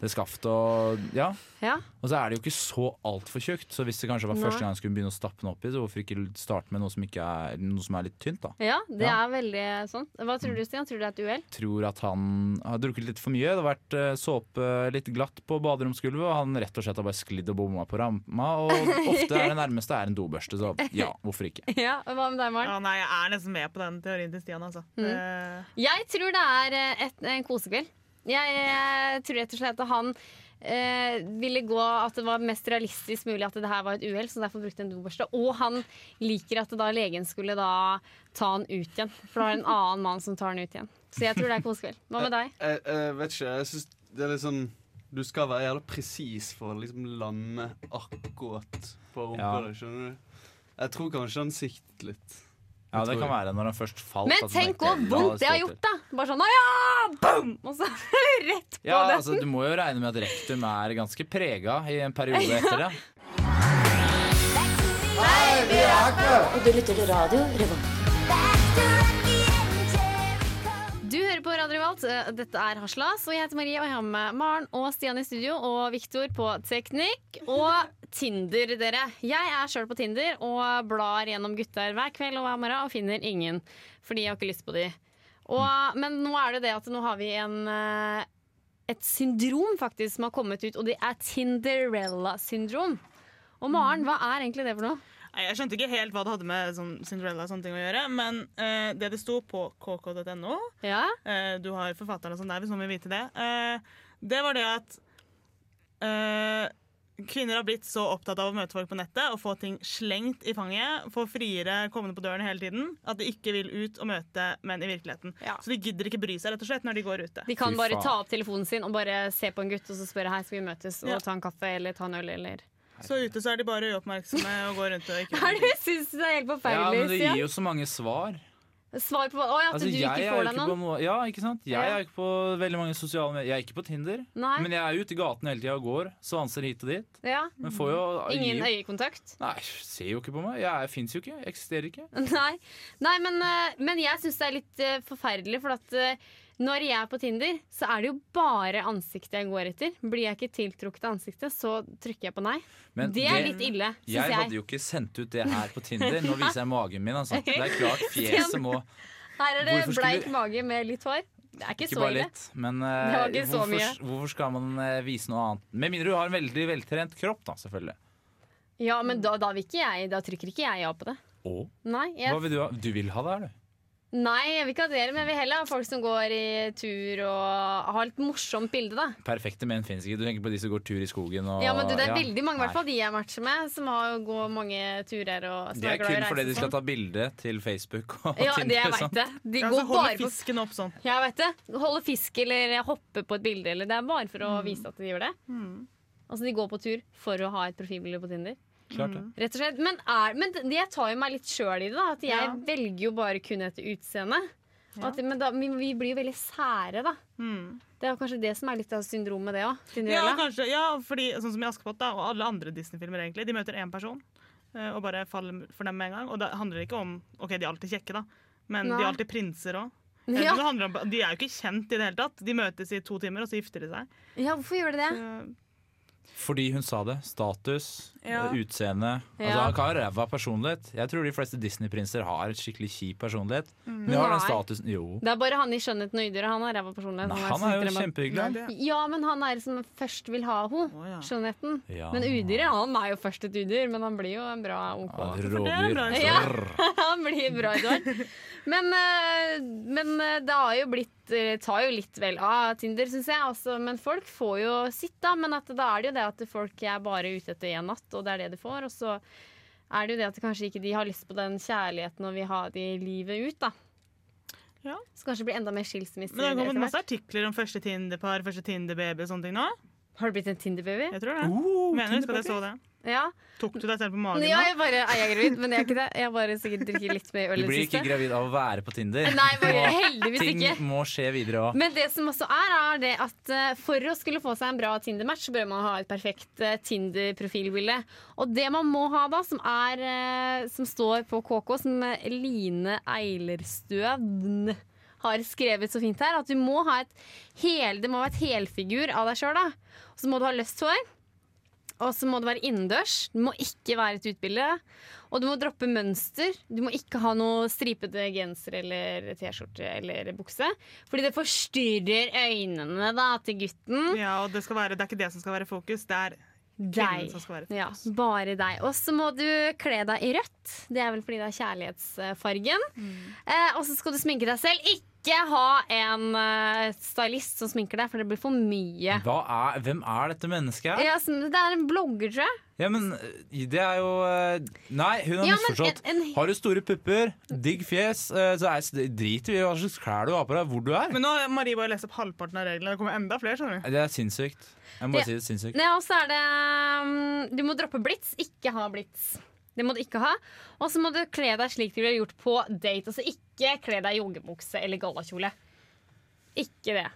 [SPEAKER 4] det skaftet og Ja.
[SPEAKER 3] Ja.
[SPEAKER 4] Og så er det jo ikke så altfor tjukt, så hvis det kanskje var
[SPEAKER 3] Nei.
[SPEAKER 4] første gang jeg skulle begynne å stappe den opp i, så hvorfor ikke starte med noe som, ikke er, noe som er litt tynt, da.
[SPEAKER 3] ja, det
[SPEAKER 4] Eh,
[SPEAKER 3] er
[SPEAKER 4] Ja.
[SPEAKER 3] veldig sånn. Hva tror du, Stian? Tror du det er et uhell?
[SPEAKER 4] Tror at han har drukket litt for mye, det har vært eh, såpe litt glatt på baderomsgulvet, og han rett og slett har bare sklidd og bomma på ramma,
[SPEAKER 3] (laughs)
[SPEAKER 4] og ofte er det nærmeste er en dobørste, så ja, hvorfor
[SPEAKER 3] (laughs)
[SPEAKER 4] ikke.
[SPEAKER 3] Ja, og Hva med deg, Maren?
[SPEAKER 7] Ja, nei, jeg er nesten med på den teorien til Stian, altså.
[SPEAKER 3] Mm.
[SPEAKER 7] Eh,
[SPEAKER 3] Jeg tror det er eh, et, en kosekveld. Jeg eh, tror rett og slett at han eh, ville gå at det var mest realistisk mulig at det her var et uhell, så derfor brukte han en dobørste. Og han liker at da legen skulle da ta han ut igjen, for da er det en annen mann som tar han ut igjen. Så jeg tror det er kosekveld. Hva med deg?
[SPEAKER 6] Jeg, jeg vet ikke. Jeg synes det er litt sånn Du skal være jævla presis for å liksom lande akkurat på rumpa
[SPEAKER 4] Ja.
[SPEAKER 6] di, skjønner du? Jeg tror kanskje han siktet litt.
[SPEAKER 4] Ja, det kan være når han først falt.
[SPEAKER 3] Men
[SPEAKER 4] at han
[SPEAKER 3] tenk
[SPEAKER 4] tenkte,
[SPEAKER 3] hvor
[SPEAKER 4] "La
[SPEAKER 3] vondt det har
[SPEAKER 4] stå til."
[SPEAKER 3] gjort, da! Bare sånn «Å ja, boom! Og så (laughs) rett på
[SPEAKER 4] Ja,
[SPEAKER 3] den.
[SPEAKER 4] altså Du må jo regne med at rektum er ganske prega i
[SPEAKER 3] (laughs)
[SPEAKER 4] en periode etter det.
[SPEAKER 8] Og du lytter til radio Revolt.
[SPEAKER 3] Du hører på Radio Revolt. Eh, Dette er Haslas, og jeg heter Marie. Og jeg har med Maren og Stian i studio, og Viktor på teknikk. Og Tinder, dere. Jeg er sjøl på Tinder og blar gjennom gutter hver kveld og hver morgen og finner ingen. Fordi jeg har ikke lyst på de. Og, men nå er det det at nå har vi en eh, et syndrom faktisk som har kommet ut, og det er Tinderella-syndrom. Og Maren, hva er egentlig det for noe?
[SPEAKER 7] Nei, Jeg skjønte ikke helt hva det hadde med sånn Cinderella og sånne ting å gjøre, men eh, det det sto på kk.no
[SPEAKER 3] Ja?
[SPEAKER 7] eh, Du har forfatteren og sånn der, hvis noen vil vite det. eh, det var det at eh, kvinner har blitt så opptatt av å møte folk på nettet og få ting slengt i fanget, få friere kommende på døren hele tiden, at de ikke vil ut og møte menn i virkeligheten.
[SPEAKER 3] Ja.
[SPEAKER 7] Så de gidder ikke bry seg rett og slett når de går ute.
[SPEAKER 3] De kan
[SPEAKER 4] Fy
[SPEAKER 3] bare
[SPEAKER 4] faen.
[SPEAKER 3] ta opp telefonen sin og bare se på en gutt og så spørre hei, skal vi møtes og
[SPEAKER 7] Ja.
[SPEAKER 3] ta en kaffe eller ta en øl eller
[SPEAKER 7] Så ute så er de bare uoppmerksomme og går rundt og ikke
[SPEAKER 3] Hva er det du syns er helt
[SPEAKER 4] Ja,
[SPEAKER 3] forferdelig?
[SPEAKER 4] men det
[SPEAKER 3] Stian?
[SPEAKER 4] gir jo så mange svar.
[SPEAKER 3] Svar på hva? Å, ja, at
[SPEAKER 4] Altså,
[SPEAKER 3] du
[SPEAKER 4] jeg
[SPEAKER 3] ikke
[SPEAKER 4] er
[SPEAKER 3] får
[SPEAKER 4] jo
[SPEAKER 3] deg
[SPEAKER 4] ikke på
[SPEAKER 3] noen?
[SPEAKER 4] noe, ja, ikke sant? Jeg
[SPEAKER 3] Ja.
[SPEAKER 4] er ikke på veldig mange sosiale medier. Jeg er ikke på Tinder.
[SPEAKER 3] Nei.
[SPEAKER 4] Men jeg er jo ute i gaten hele tida og går. Svanser hit og dit.
[SPEAKER 3] Ja.
[SPEAKER 4] Men får jo
[SPEAKER 3] Mm. Ingen
[SPEAKER 4] gir-
[SPEAKER 3] øyekontakt? (laughs)
[SPEAKER 4] Nei, ser jo ikke på meg. Jeg fins jo ikke. Jeg eksisterer ikke.
[SPEAKER 3] Nei, Nei men, eh, men jeg syns det er litt eh, forferdelig, for at eh, når jeg er på Tinder, så er det jo bare ansiktet jeg går etter. Blir jeg ikke tiltrukket av ansiktet, så trykker jeg på nei.
[SPEAKER 4] Men
[SPEAKER 3] det er litt ille, syns
[SPEAKER 4] jeg
[SPEAKER 3] jeg.
[SPEAKER 4] hadde jo ikke sendt ut det her på Tinder.
[SPEAKER 3] (laughs)
[SPEAKER 4] Nå viser jeg magen min. Altså. Det er klart fjeset må
[SPEAKER 3] Her er det
[SPEAKER 4] Hvorfor skulle
[SPEAKER 3] bleik
[SPEAKER 4] du-
[SPEAKER 3] mage med litt hår. Det er ikke,
[SPEAKER 4] Ikke
[SPEAKER 3] så
[SPEAKER 4] bare
[SPEAKER 3] ille.
[SPEAKER 4] litt, men
[SPEAKER 3] Det var
[SPEAKER 4] eh,
[SPEAKER 3] ikke så
[SPEAKER 4] hvorfor,
[SPEAKER 3] mye.
[SPEAKER 4] hvorfor skal man eh, vise noe annet? Med mindre du har en veldig veltrent kropp, da, selvfølgelig.
[SPEAKER 3] Ja, men da, da, vil ikke jeg, da trykker ikke jeg ja på det.
[SPEAKER 4] Og?
[SPEAKER 3] Nei,
[SPEAKER 4] Hva
[SPEAKER 3] jeg,
[SPEAKER 4] vil du ha? Du vil ha det her, du?
[SPEAKER 3] nei, jeg vil ikke ha dere, men jeg vil heller ha folk som går i tur og har et morsomt bilde, da.
[SPEAKER 4] Perfekte menn fins ikke. Du tenker på de som går tur i skogen og
[SPEAKER 3] Ja, men du, Det er
[SPEAKER 4] ja.
[SPEAKER 3] veldig mange i hvert
[SPEAKER 4] Nei.
[SPEAKER 3] fall de jeg matcher med, som har jo går mange turer. Og, som
[SPEAKER 4] Det er
[SPEAKER 3] glad i å
[SPEAKER 4] kun
[SPEAKER 3] reise
[SPEAKER 4] fordi de skal
[SPEAKER 3] sånn.
[SPEAKER 4] ta bilde til Facebook og
[SPEAKER 3] ja, det
[SPEAKER 4] Tinder.
[SPEAKER 3] jeg
[SPEAKER 4] og sånn.
[SPEAKER 3] vet det. De
[SPEAKER 7] Ja, så
[SPEAKER 3] går bare
[SPEAKER 7] Altså, holder
[SPEAKER 3] på
[SPEAKER 7] fisken opp sånn.
[SPEAKER 3] Jeg vet det. Holde fisk eller hoppe på et bilde. Eller det er bare for
[SPEAKER 7] Mm.
[SPEAKER 3] å vise at de gjør det. Altså De går på tur for å ha et profilbilde på Tinder.
[SPEAKER 4] Klart det.
[SPEAKER 3] Rett og slett. Men, er, men det- jeg tar jo meg litt sjøl i det. da At Jeg
[SPEAKER 7] Ja.
[SPEAKER 3] velger jo bare kun etter utseende. Og At, men da, vi, vi blir jo veldig sære, da.
[SPEAKER 7] Hmm.
[SPEAKER 3] Det er jo kanskje det som er litt av syndromet, det òg.
[SPEAKER 7] Ja, kanskje, ja, fordi sånn som i Askepott da, og alle andre Disney-filmer egentlig, de møter én person eh, og bare faller for dem med en gang. Og det handler ikke om Ok, de er alltid kjekke, da, men de
[SPEAKER 3] Nei.
[SPEAKER 7] er alltid prinser Eh, òg.
[SPEAKER 3] (laughs) Ja.
[SPEAKER 7] De er jo ikke kjent i det hele tatt. De møtes i to timer, og så gifter de seg.
[SPEAKER 3] ja, hvorfor gjør det det?
[SPEAKER 7] Eh,
[SPEAKER 4] Fordi hun sa det. Status,
[SPEAKER 7] Ja.
[SPEAKER 4] eh, utseende. Altså,
[SPEAKER 3] Ja.
[SPEAKER 4] han kan ha ræva personlighet. Jeg tror de fleste Disney-prinser har et skikkelig kjip personlighet. Men de har den
[SPEAKER 3] Mm. Nei.
[SPEAKER 4] statusen Jo.
[SPEAKER 3] Det er bare han i 'Skjønnheten og udyret'. Han har ræva personlighet.
[SPEAKER 4] Nei,
[SPEAKER 3] som
[SPEAKER 4] han er jo
[SPEAKER 3] syns det
[SPEAKER 7] Nei,
[SPEAKER 4] kjempehyggelig.
[SPEAKER 7] det,
[SPEAKER 3] Ja, men han er som først vil ha henne.
[SPEAKER 7] Å, ja.
[SPEAKER 3] Skjønnheten.
[SPEAKER 4] Ja.
[SPEAKER 3] Men udyret, han er jo først et udyr, men han blir jo en bra OK.
[SPEAKER 4] Ja, det er
[SPEAKER 7] det er en
[SPEAKER 4] Rovdyr.
[SPEAKER 7] bra
[SPEAKER 3] Ja.
[SPEAKER 7] historie.
[SPEAKER 3] (laughs) han blir bra, Edvard. Men, eh, men eh, det har jo blitt eh, tar jo litt vel av Tinder, syns jeg. Altså, men folk får jo sitt, da. Men at, da er det jo det at folk er bare ute etter én natt, og det er det de får. Og så er det jo det at kanskje ikke de har lyst på den kjærligheten og vil ha det livet ut, da.
[SPEAKER 7] Ja.
[SPEAKER 3] Så kanskje det blir enda mer skilsmisser.
[SPEAKER 7] Men det har
[SPEAKER 3] etter
[SPEAKER 7] kommet masse
[SPEAKER 3] hvert.
[SPEAKER 7] artikler om første Tinder-par, første Tinder-baby og sånne ting nå.
[SPEAKER 3] Har du blitt en Tinder-baby?
[SPEAKER 4] Uh,
[SPEAKER 7] Jeg tror det. Mener du, skal jeg så det?
[SPEAKER 3] Ja.
[SPEAKER 7] Tok du deg selv på magen
[SPEAKER 3] ja,
[SPEAKER 7] nå?
[SPEAKER 3] jeg bare er jeg gravid, men jeg er ikke det. Jeg bare sikkert drikker litt mer øl i
[SPEAKER 4] Du
[SPEAKER 3] det
[SPEAKER 4] blir ikke
[SPEAKER 3] siste.
[SPEAKER 4] gravid av å være på Tinder.
[SPEAKER 3] Nei, bare
[SPEAKER 4] Og
[SPEAKER 3] heldigvis
[SPEAKER 4] Ting
[SPEAKER 3] ikke.
[SPEAKER 4] må skje videre òg.
[SPEAKER 3] Men det som også er, er det at eh, for å skulle få seg en bra Tinder-match, så bør man ha et perfekt eh, Tinder-profilbilde. Og det man må ha da, som, er, eh, som står på KK, som eh, Line Eilerstøvn har skrevet så fint her, at du må ha et hel, det må være et helfigur av deg sjøl. Og så må du ha løst hår. Og så må det være innendørs. Det må ikke være et utbilde. Og du må droppe mønster. Du må ikke ha noe stripete genser eller T-skjorte eller bukse. Fordi det forstyrrer øynene da, til gutten.
[SPEAKER 7] Ja, og det, skal være, det er ikke det som skal være fokus, det er kvinnen
[SPEAKER 3] Deg.
[SPEAKER 7] som skal være fokus.
[SPEAKER 3] Ja, bare deg. Og så må du kle deg i rødt. Det er vel fordi det er kjærlighetsfargen.
[SPEAKER 7] Mm.
[SPEAKER 3] Eh, og så skal du sminke deg selv. Ikke ha en eh, stylist som sminker deg, for det blir for mye.
[SPEAKER 4] Hva er, hvem er dette mennesket her?
[SPEAKER 3] Ja, så det er en blogger, tror jeg.
[SPEAKER 4] Ja, men eh, det er jo eh, Nei, hun har
[SPEAKER 3] Ja, men
[SPEAKER 4] misforstått.
[SPEAKER 3] en- en-
[SPEAKER 4] Har du store pupper, digg fjes, eh, så er, det driter vi i hva slags klær du har på deg, hvor du er.
[SPEAKER 7] Men nå har Marie bare lest opp halvparten av reglene. Det kommer enda flere, skjønner du.
[SPEAKER 4] Det er sinnssykt. Jeg må
[SPEAKER 3] Ja.
[SPEAKER 4] bare si det er sinnssykt.
[SPEAKER 3] Nei, og så er det mm, Du må droppe blitz, ikke ha blitz. Det må du ikke ha. Og så må du kle deg slik du ville gjort på date. Altså ikke kle deg i joggebukse eller gallakjole. Ikke det.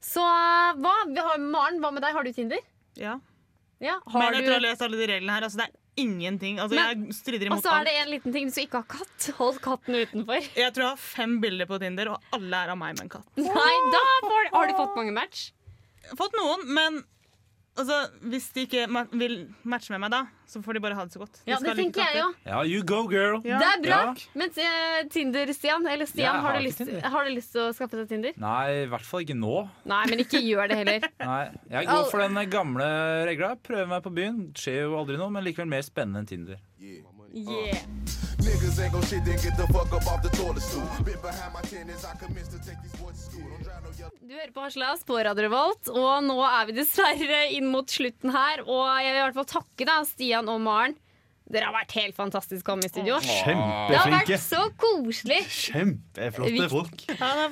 [SPEAKER 3] Så hva? Vi har- Maren, hva med deg? Har du Tinder?
[SPEAKER 7] Ja.
[SPEAKER 3] Ja, har
[SPEAKER 7] Men etter å ha
[SPEAKER 3] du...
[SPEAKER 7] lest alle de reglene her, altså det er ingenting. Altså,
[SPEAKER 3] Men-
[SPEAKER 7] jeg strider
[SPEAKER 3] Og
[SPEAKER 7] imot
[SPEAKER 3] så er
[SPEAKER 7] alt.
[SPEAKER 3] det en liten ting. Du skal ikke ha katt. Hold katten utenfor. (laughs)
[SPEAKER 7] Jeg tror jeg har fem bilder på Tinder, og alle er av meg med en katt.
[SPEAKER 3] Nei, da får du... Har du fått mange match?
[SPEAKER 7] Jeg har Fått noen, men altså, hvis de ikke ma vil matche med meg da, så får de bare ha det så godt. De
[SPEAKER 3] Ja,
[SPEAKER 7] skal ha
[SPEAKER 3] det
[SPEAKER 7] like
[SPEAKER 3] tenker jeg
[SPEAKER 7] katter.
[SPEAKER 3] jo.
[SPEAKER 4] Ja, you go, girl.
[SPEAKER 7] Ja.
[SPEAKER 3] Det er bra.
[SPEAKER 4] Ja.
[SPEAKER 3] Men eh, Tinder-Stian, eller
[SPEAKER 4] Jeg
[SPEAKER 3] Stian,
[SPEAKER 4] har
[SPEAKER 3] har du
[SPEAKER 4] ikke
[SPEAKER 3] lyst-
[SPEAKER 4] Tinder.
[SPEAKER 3] har du lyst til å skaffe deg Tinder?
[SPEAKER 4] Nei, i hvert fall ikke nå.
[SPEAKER 3] Nei, men ikke gjør det heller.
[SPEAKER 4] Nei, Jeg går for den gamle regla. Prøver meg på byen. Skjer jo aldri noe, men likevel mer spennende enn Tinder.
[SPEAKER 3] Yeah.
[SPEAKER 9] Niggas ain't gon' shit, then get the fuck up off the toilet stool. Bit behind my tennis, I commence to take these boys to school. Don't drive no yellow.
[SPEAKER 3] Du hører på Harselas på Radio Revolt, og nå er vi dessverre inn mot slutten her. Og jeg vil i hvert fall takke deg, Stian og Maren. Dere har vært helt fantastiske å komme i studio. Det har vært
[SPEAKER 6] Kjempeflinke.
[SPEAKER 3] så koselig.
[SPEAKER 6] Kjempeflotte folk.